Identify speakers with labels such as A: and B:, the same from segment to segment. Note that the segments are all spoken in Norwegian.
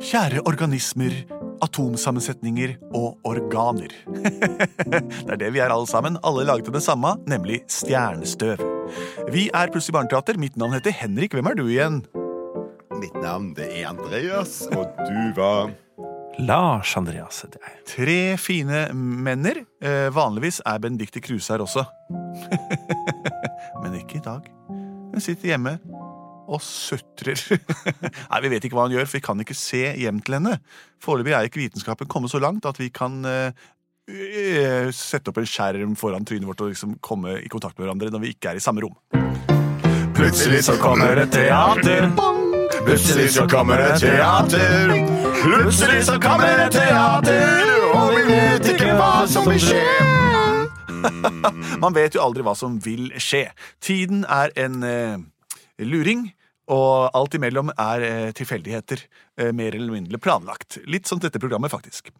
A: Kjære organismer, atomsammensetninger og organer. det er det vi er alle sammen, alle laget av det samme, nemlig stjernestøv. Vi er Plutselig barneteater. Mitt navn heter Henrik. Hvem er du igjen?
B: Mitt navn det er Andreas, og du var
C: Lars Andreas heter jeg.
A: Tre fine menner. Eh, vanligvis er Benedicte Kruse her også. Men ikke i dag. Hun sitter hjemme og sutrer. Nei, Vi vet ikke hva hun gjør, for vi kan ikke se hjem til henne. Foreløpig er ikke vitenskapen kommet så langt at vi kan eh, eh, sette opp en skjerm foran trynet vårt og liksom komme i kontakt med hverandre når vi ikke er i samme rom.
B: Plutselig så kommer et
C: teater.
B: Plutselig så kommer et teater. Plutselig så kommer et teater, og vi vet ikke hva som vil skje.
A: Mm. Man vet jo aldri hva som vil skje. Tiden er en eh, luring, og alt imellom er eh, tilfeldigheter. Eh, mer eller mindre planlagt. Litt som dette programmet, faktisk.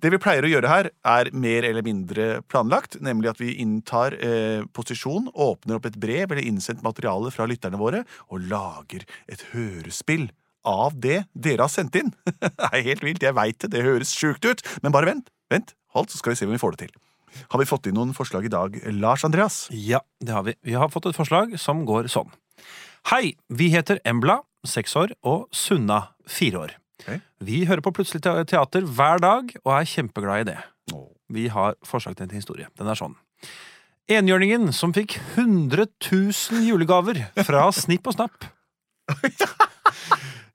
A: Det vi pleier å gjøre her, er mer eller mindre planlagt, nemlig at vi inntar eh, posisjon, åpner opp et brev eller innsendt materiale fra lytterne våre, og lager et hørespill. Av det dere har sendt inn. Det er helt vilt, jeg veit det, det høres sjukt ut, men bare vent, vent, hold, så skal vi se om vi får det til. Har vi fått inn noen forslag i dag, Lars Andreas?
C: Ja, det har vi. Vi har fått et forslag som går sånn. Hei, vi heter Embla, seks år, og Sunna, fire år.
A: Ok.
C: Vi hører på Plutselig te- teater hver dag og er kjempeglad i det. Vi har forslag til en historie. Den er sånn. Enhjørningen som fikk 100 000 julegaver fra Snipp og Snapp.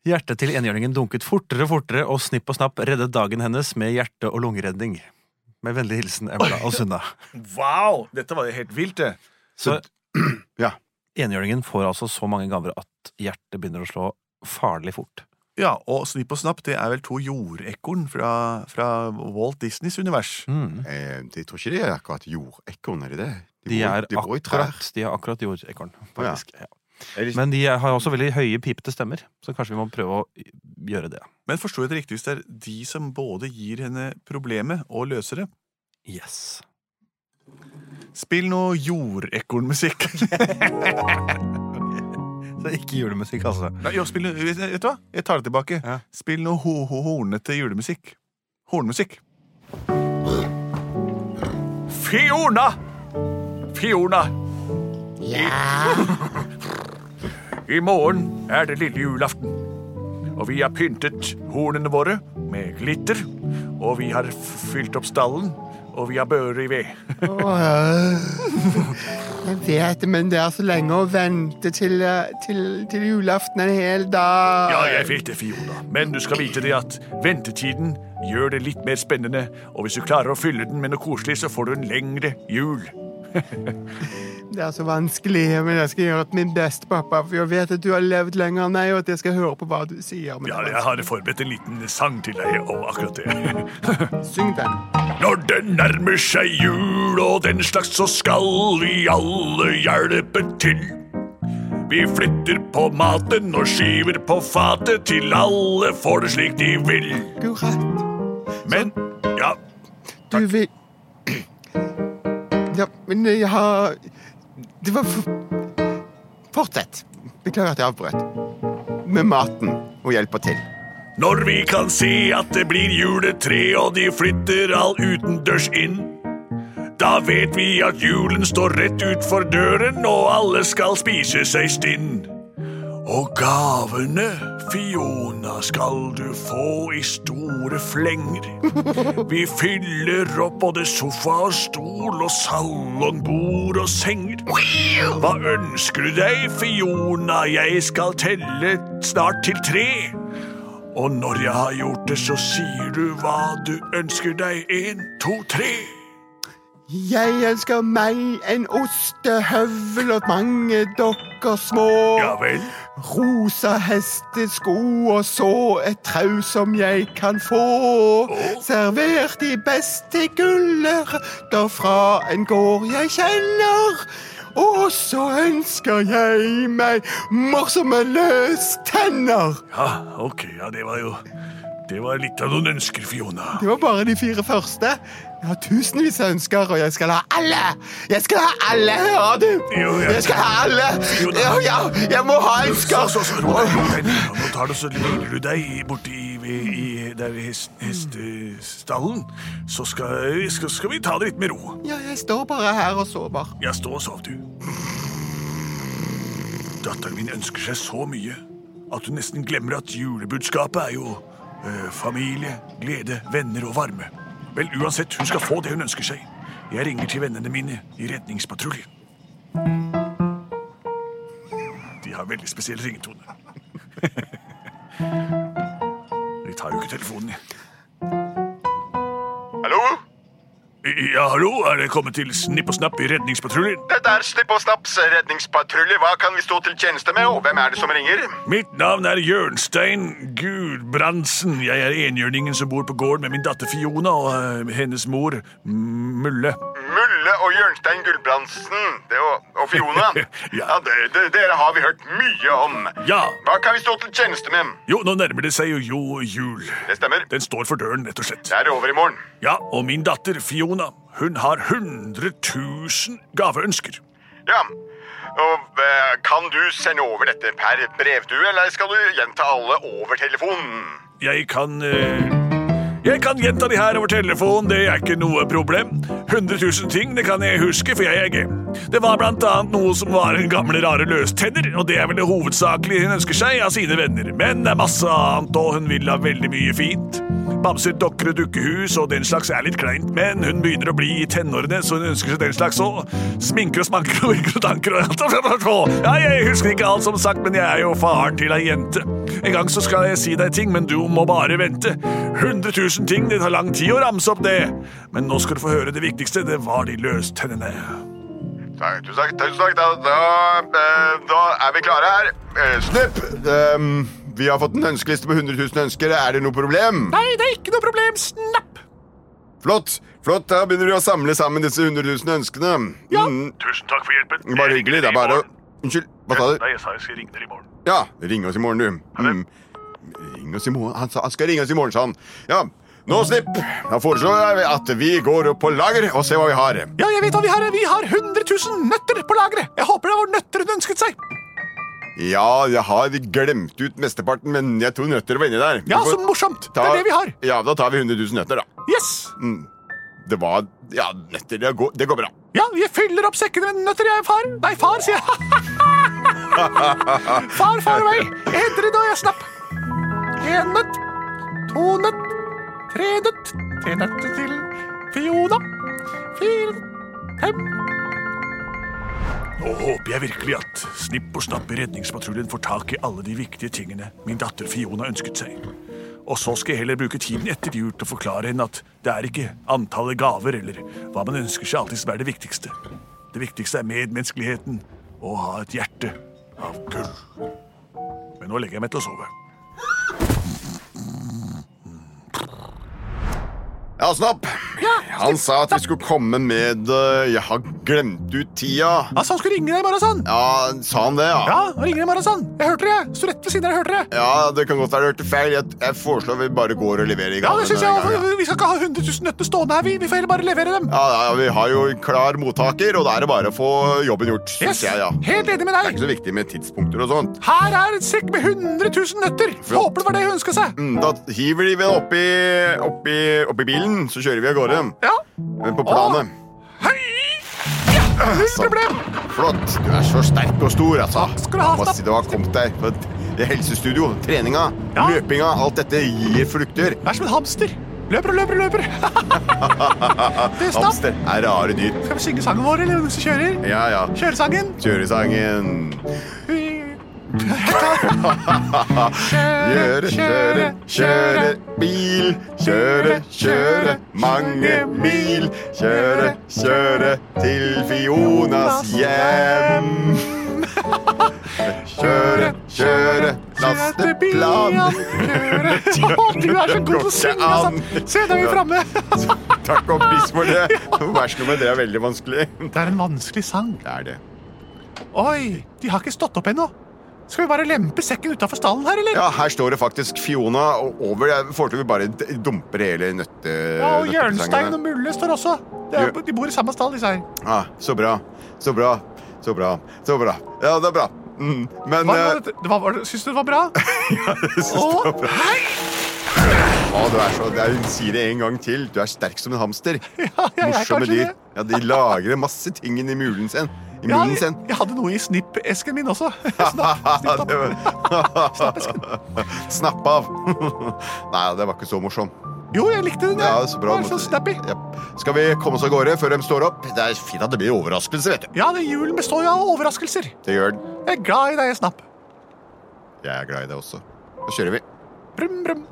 C: Hjertet til enhjørningen dunket fortere og fortere, og Snipp og Snapp reddet dagen hennes med hjerte- og lungeredning. Med vennlig hilsen Embla og Sunna.
A: Wow! Dette var jo helt vilt, det.
C: Så
B: Ja.
C: enhjørningen får altså så mange gaver at hjertet begynner å slå farlig fort.
A: Ja, og Snipp og Snapp det er vel to jordekorn fra, fra Walt Disneys univers.
B: Eh, jeg tror ikke de er akkurat jordekorn, er de det? bor
C: De,
B: i-
C: er
B: de bor i trær.
C: akkurat, de er akkurat jordekorn,
B: ja.
C: faktisk. Ja.
B: Er de-
C: Men de er- har også veldig høye, pipete stemmer, så kanskje vi må prøve å gjøre det.
A: Men forstår jeg det riktig hvis det er de som både gir henne problemet og løser det?
C: Yes.
A: Spill noe jordekornmusikk.
C: Så ikke julemusikk, altså.
A: Nei, jo, spill noe, vet vet du hva? Jeg tar det tilbake.
C: Ja.
A: Spill noe ho -ho hornete julemusikk. Hornmusikk. Fiona! Fiona! I morgen er det lille julaften. Og vi har pyntet hornene våre med glitter. Og vi har f- fylt opp stallen, og vi har bører i ved.
D: Jeg vet, men det er så lenge å vente til, eh, til, til julaften en hel dag.
A: Ja, jeg vet det, Fiona. Men du skal vite det at ventetiden gjør det litt mer spennende. Og hvis du klarer å fylle den med noe koselig, så får du en lengre jul.
D: Det er så vanskelig, men jeg skal gjøre min beste, pappa. For jeg vet at du har levd lenger enn meg, og at jeg skal høre på hva du sier. Men
A: Ja,
D: det er
A: jeg har forberedt en liten sang til deg om akkurat det.
D: vanskelig. Syng den.
A: Når det nærmer seg jul og den slags, så skal vi alle hjelpe til. Vi flytter på maten og skyver på fatet til alle får det slik de vil.
D: Akkurat.
A: Men ja,
D: Du vil Ja, men jeg har Det var for... Fortsett. Beklager at jeg avbrøt. Med maten og hjelper til.
A: Når vi kan se at det blir juletre og de flytter all utendørs inn. Da vet vi at julen står rett utfor døren og alle skal spise seg stinn. Og gavene, Fiona, skal du få i store flenger. Vi fyller opp både sofa og stol og salongbord og senger. Hva ønsker du deg, Fiona? Jeg skal telle snart til tre. Og når jeg har gjort det, så sier du hva du ønsker deg. En, to, tre.
D: Jeg ønsker meg en ostehøvel og mange dokker små.
A: Ja vel.
D: rosa hestesko og så et trau som jeg kan få. Servert i beste gulrøtter fra en gård jeg kjenner. Og så ønsker jeg meg morsomme løstenner.
A: Ja, ok, ja, det var jo Det var litt av noen ønsker, Fiona.
D: Det var bare de fire første. Jeg har tusenvis av ønsker, og jeg skal ha alle! Jeg skal ha alle, hører du?
A: Jo, ja.
D: Jeg skal ha alle! Ja, ja, jeg må ha
A: Så, så,
D: ønsker!
A: så, ro deg, ro deg ned. Nå tar du så lurer du deg i- borti i, i, der i hest, hestestallen. Så skal, skal, skal vi ta det litt med ro.
D: Ja, jeg står bare her og sover.
A: Jeg står og sov, du. Datteren min ønsker seg så mye at hun nesten glemmer at julebudskapet er jo eh, familie, glede, venner og varme. Vel, uansett, hun skal få det hun ønsker seg. Jeg ringer til vennene mine i redningspatruljen. De har veldig spesiell ringetone. De tar jo ikke telefonen. jeg.
B: Hallo?
A: Ja, hallo, er det kommet til Snipp og Snapp i redningspatruljen?
B: Dette er Slipp og Snaps redningspatrulje. Hva kan vi stå til tjeneste med, og hvem er det som ringer?
A: Mitt navn er Jørnstein Gudbrandsen. Jeg er enhjørningen som bor på gården med min datter Fiona og eh, hennes mor Mulle.
B: Mulle og Jørnstein Gulbrandsen det og, og Fiona.
A: Ja.
B: ja, det, det, Dere har vi hørt mye om.
A: Ja.
B: Hva kan vi stå til tjeneste med?
A: Jo, nå nærmer det seg jo, jo jul.
B: Det stemmer.
A: Den står for døren, rett og slett.
B: Det er over i morgen.
A: Ja, og min datter Fiona, hun har 100 000 gaveønsker.
B: Ja. Og eh, Kan du sende over dette per brevdue, eller skal du gjenta alle over telefonen?
A: Jeg kan eh, Jeg kan gjenta de her over telefon, det er ikke noe problem. 100 000 ting det kan jeg huske, for jeg er gay. Det var blant annet noe som var gamle, rare løstenner, og det er vel det hovedsakelig hun ønsker seg av sine venner. Men det er masse annet, og hun vil ha veldig mye fint. Bamser, dokker og dukkehus og den slags er litt kleint, men hun begynner å bli i tenårene, så hun ønsker seg den slags òg. Sminker og smanker og virker og tanker og Ja, jeg husker ikke alt, som sagt, men jeg er jo faren til ei jente. En gang så skal jeg si deg ting, men du må bare vente. 100 000 ting, det tar lang tid å ramse opp det. Men nå skal du få høre det viktigste, det var de løstennene.
B: Takk, Tusen takk. tusen takk. Da, da, eh, da er vi klare her. Eh, Snipp! ehm, vi har fått en ønskeliste på 100 000 ønsker. Er det noe problem?
A: Nei, det er ikke noe problem, snapp!
B: Flott! Flott, Da begynner vi å samle sammen disse 100 000 ønskene. Ja. Mm,
A: Tusen takk for hjelpen.
B: bare hyggelig. Det er bare å Unnskyld, hva sa du?
A: Nei, jeg sa jeg skulle ringe dere i morgen.
B: Ja, ring oss i morgen, du. Mm. Ring oss i morgen. Han, sa, han skal ringe oss i morgen, sa han. Ja, nå, Snipp, da foreslår jeg at vi går opp på lager og ser hva vi har.
A: Ja, jeg vet hva vi har. Vi har 100 000 nøtter på lageret. Jeg håper det var nøtter hun ønsket seg.
B: Ja, jeg har glemt ut mesteparten, men jeg tror nøtter var inni der. Vi
A: Ja,
B: får
A: så morsomt. Det
B: ta-
A: er det vi har.
B: Ja, da tar vi 100 000 nøtter, da.
A: Yes.
B: Det var Ja, nøtter. Det går, det går bra.
A: Ja, jeg fyller opp sekkene med nøtter, jeg, far. Nei, far, sier jeg. far, far meg. Jeg henter det da jeg slapp. En nøtt, to nøtt, tre nøtt, tre nøtter til Fiona. Fire, fem. Nå håper jeg virkelig at Snipp og Snapp i redningspatruljen får tak i alle de viktige tingene min datter Fiona ønsket seg. Og så skal jeg heller bruke tiden etter jul til å forklare henne at det er ikke antallet gaver eller hva man ønsker seg alltid som er det viktigste. Det viktigste er medmenneskeligheten og å ha et hjerte av gull. Men nå legger jeg meg til å sove.
B: Ja, Snopp. han sa at vi skulle komme med eh, Jeg har glemt ut tida.
A: Altså, han skulle ringe deg i morgen, sa han.
B: Ja, sa han det,
A: Ja, han ringer deg i morgen, sa han. Jeg hørte det, jeg. Sto rett ved siden av deg, hørte det.
B: Ja, det kan godt være jeg hørte feil. Jeg, jeg foreslår vi bare går og leverer i
A: Ja,
B: gang.
A: det synes jeg. også. Vi skal ikke ha 100 000 nøtter stående her, vi. Vi får heller bare levere dem.
B: Ja, ja, vi har jo en klar mottaker, og da er det bare å få jobben gjort.
A: Yes,
B: synes jeg, ja. Det
A: helt enig med
B: er ikke
A: deg.
B: så viktig med tidspunkter og sånt.
A: Her er en sekk med 100 000 nøtter. Håper det var det hun ønska seg.
B: Mm, Da hiver de vel oppi, oppi, oppi bilen, så kjører vi av gårde.
A: Ja.
B: Men På planet.
A: Hei! Ja, null
B: Så.
A: problem.
B: Flott. Du er så sterk og stor, altså.
A: skal du ha,
B: Må
A: Stapp.
B: si du har kommet deg på et helsestudio. Treninga,
A: Ja.
B: løpinga, alt dette gir frukter.
A: Det er som en hamster. Løper og løper og løper. du, stopp.
B: Hamster er rare dyr.
A: Skal vi synge sangen vår, eller hvem som kjører?
B: Ja, ja.
A: Kjøresangen.
B: Kjøresangen. Kjøre,
A: Kjøre,
B: kjøre, kjøre bil. Kjøre, kjøre mange mil. Kjøre, kjøre til Fionas hjem. Kjøre, kjøre lasteplan.
A: Du er så god til å synge, altså! Se, da er vi framme!
B: Takk og pris for det. Versnummer, det er veldig vanskelig.
A: Det er en vanskelig sang.
B: Det er det.
A: Oi, de har ikke stått opp ennå. Skal vi bare lempe sekken utafor stallen her, eller?
B: Ja, her står det faktisk Fiona og over. Jeg foreløpig bare d- dumper hele nøtte...
A: Ja, og Jørnstein
B: nøttesangene.
A: og Mulle står også. Det er,
B: Gjø-
A: de bor i samme stall, disse her.
B: Ah, så bra. Så bra. Så bra. Så bra. Ja, det er bra. Mm. Men
A: Hva, var
B: eh,
A: det- hva, var det- syns du det var bra?
B: jeg synes det var
A: Å,
B: bra.
A: hei!
B: Å, du er så, det er, hun sier det en gang til. Du er sterk som en hamster.
A: Ja, jeg er
B: Morsomme
A: kanskje
B: dyr.
A: det.
B: Ja, De lagrer masse ting inni mulen sin. I
A: Ja,
B: munnen
A: jeg,
B: sin.
A: jeg hadde noe i snippesken min også.
B: Ja,
A: Snapp,
B: det
A: snipp,
B: var- Snapp av. Nei, det var ikke så morsom.
A: Jo, jeg likte den.
B: Ja, så bra.
A: Den var så snappy.
B: Ja. Skal vi komme oss av gårde før de står opp? Det er fint at det blir overraskelse, vet du.
A: Ja, det julen består jo av overraskelser.
B: Det gjør den.
A: Jeg er glad i deg, Snapp.
B: Jeg er glad i det også. Da kjører vi.
A: Brum, brum.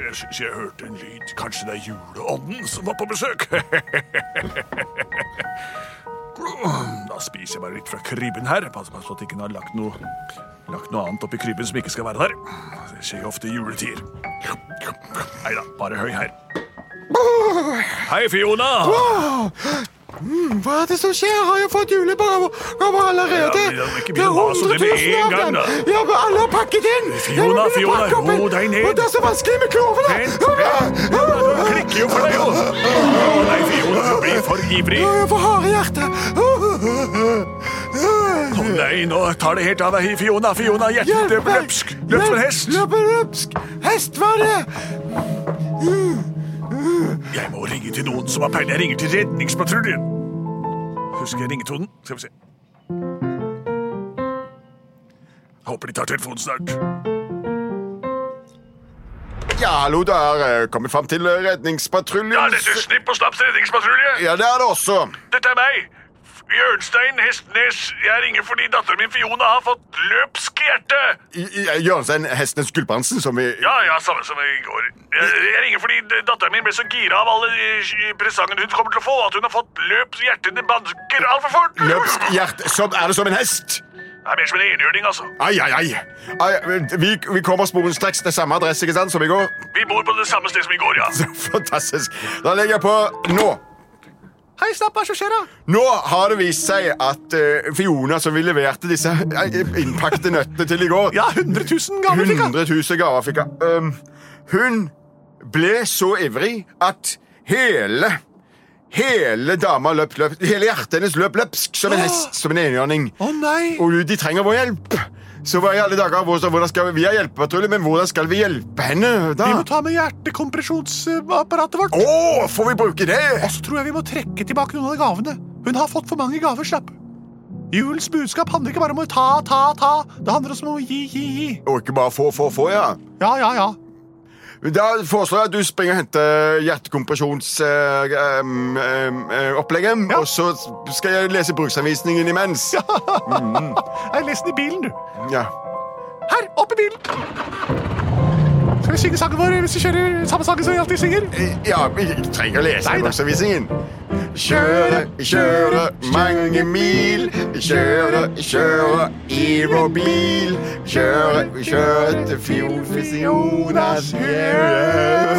E: Jeg syns jeg hørte en lyd. Kanskje det er juleånden som var på besøk? da spiser jeg bare litt fra krybben her. Pass meg så at jeg ikke har lagt noe, lagt noe annet oppi krybben som ikke skal være der. Det skjer jo ofte i juletider. Nei da, bare høy her. Hei, Fiona!
D: Hva er det som skjer? Har jeg fått julegaver allerede?
E: Ja, men det er ikke mye mas om det med en gang, da.
D: Ja, men alle har pakket inn!
E: Fiona,
D: Jeg må begynne å
E: Fiona,
D: pakke opp en-
E: ro deg ned.
D: Og det er så vanskelig med klovene!
E: Vent,
D: Vent,
E: Klikker jo for deg, jo! Å, Nei, Fiona, du blir for ivrig.
D: Jeg får harde hjertet.
E: Å nei, nå tar det helt av deg, Fiona. Fiona, hjertet
D: Hjelp
E: ditt
D: meg!
E: løpsk. Løp som en hest.
D: Løp en løpsk hest, var det?
E: Jeg må ringe til noen som har peiling. Jeg ringer til redningspatruljen. Husker jeg ringetonen? Skal vi se. Håper de tar telefonen snart.
B: Ja, hallo, da er eh, kommet fram til eh, redningspatruljen.
E: Ja, dette er Snipp og Snapps redningspatrulje.
B: Ja, det er det også.
E: Dette er meg. Bjørnstein Hestnes. Jeg ringer fordi datteren min Fiona har fått løpsk hjerte.
B: I- i- Jørgenstein Hestenes Gulbrandsen, sånn som vi
E: Ja, ja, samme som i går. Jeg, jeg ringer fordi datteren min ble så gira av alle eh, presangene hun kommer til å få, at hun har fått løpsk hjerte til banker altfor fort.
B: Løpsk hjerte som Er det som en hest?
E: Det er mer som en enhjørning, altså.
B: Ai, ai, ai. ai vi, vi kommer sporenstreks til samme adresse ikke sant, som i går.
E: Vi bor på det samme sted som i går, ja.
B: Så fantastisk. Da legger jeg på nå.
A: Hei, Snapp, hva er det som skjer, da?
B: Nå har det vist seg at eh, Fiona, som vi leverte disse eh, innpakte nøttene til i går
A: Ja, 100 000 gaver fikk han.
B: 100 000 gaver fikk hun. Ehm, hun ble så ivrig at hele Hele dama løp, løp, hele hjertet hennes løp løpsk som en hest, som en enhjørning.
A: Å nei!
B: Og de trenger vår hjelp. Så hva i alle dager, hvor- hvordan skal vi, vi er hjelpepatrulje, men hvordan skal vi hjelpe henne
A: Vi må
B: da?
A: ta med hjertekompresjonsapparatet vårt.
B: Å, får vi bruke det?
A: Og så tror jeg vi må trekke tilbake noen av gavene. Hun har fått for mange gaver, Snapp. Julens budskap handler ikke bare om å ta, ta, ta. Det handler også om å gi, gi, gi.
B: Og ikke bare få, få, få, ja.
A: Ja, ja, ja.
B: Da foreslår jeg at du springer og henter eh, mm, hjertekompresjonsopplegget,
A: Ja.
B: eh, og så skal jeg lese bruksanvisningen imens. Ja.
A: Jeg leser den i bilen, du.
B: ja.
A: Her, opp i bilen! Skal vi synge sangen vår hvis vi kjører samme sangen som vi alltid synger?
B: Eh, Ja, vi trenger å lese
A: Nei da.
B: bruksanvisningen. Kjøre, kjøre mange mil. Kjøre, kjøre i vår bil. Kjøre, kjøre til fjordfisjonas hjem.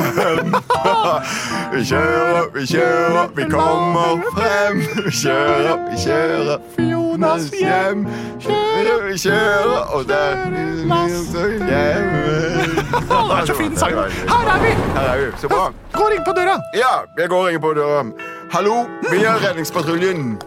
B: Vi kjører, vi kjører, vi kommer frem. Vi kjører, vi kjører Fionas hjem. Kjører, vi kjører, og der er hjemme.
A: Å, det er så fin sang. Her er vi!
B: Her er vi. Så bra.
A: Går inn på døra.
B: Ja, jeg går og ringer på døra. Hallo, vi er redningspatruljen.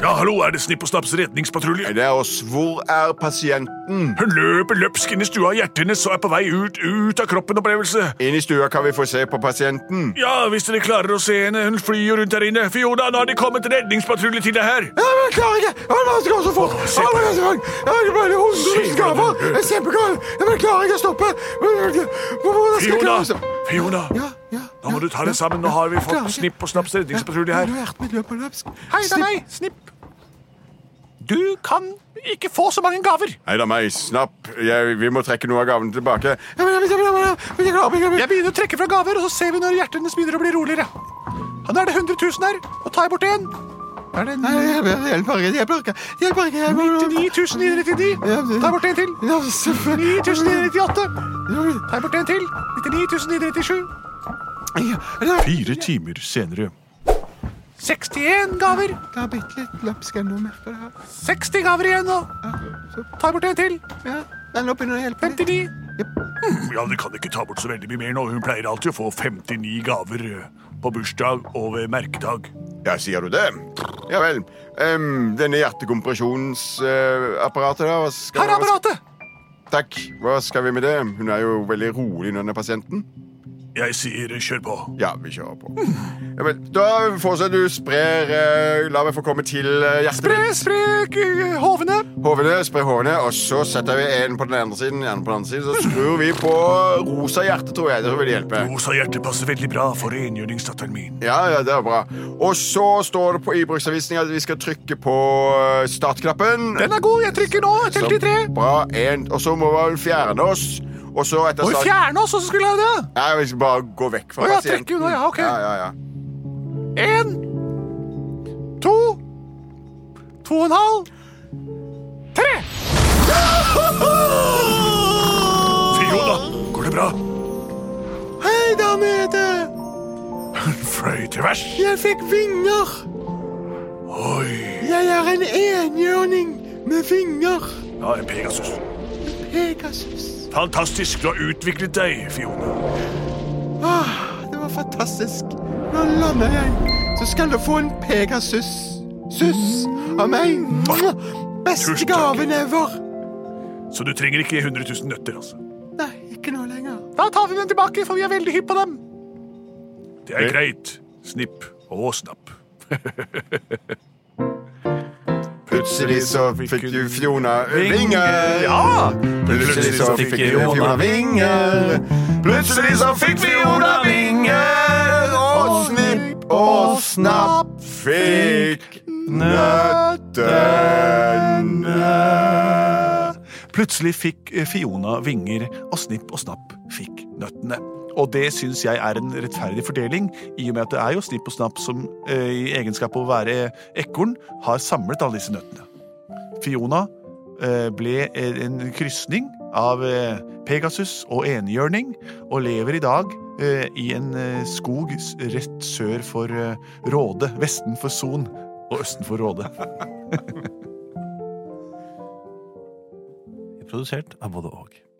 E: Ja, hallo, er det Snipp og Snapps redningspatrulje?
B: Det er oss. Hvor er pasienten?
E: Hun løper løpsk inn i stua, hjertet hennes og er på vei ut, ut av kroppen-opplevelse.
B: Inn i stua kan vi få se på pasienten.
D: Mm.
E: Ja, hvis dere klarer å se henne, hun flyr jo rundt her inne. Fiona, nå har det kommet redningspatrulje til deg her.
D: Ja, men jeg klarer ikke! Å, nå skal jeg så fort!
E: se
D: Å,
E: på-
D: nå er jeg så fort! Jeg har bare 100 000 gaver! Jeg er kjempegal! Men jeg klarer ikke å stoppe! Men- men- men- Hvordan skal jeg
E: Fiona,
D: klare å stoppe?
E: Fiona.
D: Ja, ja,
E: Nå må
D: ja,
E: du ta
D: ja,
E: deg sammen. Nå
D: ja,
E: har vi
D: jeg
E: fått
D: klarer ikke.
E: Snipp og Snapps redningspatrulje
D: Ja,
E: her.
D: nå er hjertet mitt løper løpsk.
A: Hei, det er
D: Snipp.
A: meg. Snipp. Du kan ikke få så mange gaver.
B: Hei da, meg. Snapp. Jeg, vi må trekke noe av gavene tilbake.
D: Ja, men- men- men- men- men- men jeg klarer ikke-
A: Jeg begynner å trekke fra gaver, og så ser vi når hjertet hennes begynner å bli roligere. Ja, Nå er det 100 000 her. Nå tar jeg bort én.
E: Er det
D: Nei, jeg jeg hjelper ikke. Hjelper ikke. Hjelper ikke. Jeg må
E: 99.999? Ta bort en til.
D: Ja, selvfølgelig.
E: 99.998. Ta bort en til. 99.997.
D: Ja, det er
A: Fire timer senere.
E: 61 gaver.
D: det er bitte litt løpsk ennå, merker jeg.
E: 60 gaver igjen nå. Ta bort en til.
D: Ja, men nå begynner det å hjelpe litt.
E: 59. Hm. Ja, men Du kan ikke ta bort så veldig mye mer nå. Hun pleier alltid å få 59 gaver eh, på bursdag og ved merkedag.
B: Ja, sier du det? Ja vel. Ehm, denne hjertekompresjonsapparatet der hva skal-
E: Her er apparatet!
B: Takk. Hva skal vi med det? Hun er jo veldig rolig, denne pasienten.
E: Jeg sier eh, kjør på.
B: Ja, vi kjører på. Ja, vel, da fortsetter du sprer eh, La meg få komme til eh, hjertet. Spre, spre
E: eh, Hovene.
B: hovene, spre hovene, og så setter vi en på den ene siden, en på den andre siden. Så skrur vi på rosa hjerte, tror jeg. Det vil hjelpe.
E: Rosa hjerte passer veldig bra for rengjøringsdatteren min.
B: Ja, ja, det er bra. Og så står det på i bruksanvisningen at vi skal trykke på eh, startknappen.
E: Den er god. Jeg trykker nå. Jeg
B: Sånn.
E: teller til tre.
B: Så, Bra, en, og så må vi fjerne oss. Og så etter
E: Og
B: start-
E: fjerne oss, og så skulle jeg det.
B: Nei, vi skal bare gå vekk fra
E: Å ja,
B: pasienten.
E: trekke unna, ja, ok.
B: ja, ja, ja.
E: Én, to, to og en halv, tre! Fiona, går det bra?
D: Hei der nede!
E: Fløy til værs.
D: Jeg fikk vinger!
E: Oi.
D: Jeg er en enhjørning med vinger.
E: Ja, en Pegasus.
D: Pegasus.
E: Fantastisk. Du har utviklet deg, Fiona.
D: Ah, det var fantastisk. Nå lander jeg. Så skal du få en Pegasus. Suss av meg.
E: Tusen
D: Beste
E: takk.
D: gaven ever.
E: Så du trenger ikke 100 000 nøtter, altså.
D: Nei, ikke nå lenger.
E: Da tar vi dem tilbake, for vi er veldig hypp på dem. Det er greit. Snipp og snapp.
B: Plutselig så fikk jo Fiona vinger.
E: Ja!
B: Plutselig så fikk jo Fiona vinger. Plutselig så fikk Fiona vinger. Og snipp og snapp fikk nøttene.
A: Plutselig fikk eh, Fiona vinger, og Snipp og Snapp fikk nøttene. Og det syns jeg er en rettferdig fordeling, i og med at det er jo Snipp og Snapp som eh, i egenskap av å være ekorn har samlet alle disse nøttene. Fiona eh, ble eh, en krysning av eh, Pegasus og enhjørning, og lever i dag eh, i en eh, skog s- rett sør for eh, Råde, vesten for Son og østen for Råde.
C: Produsert av både og.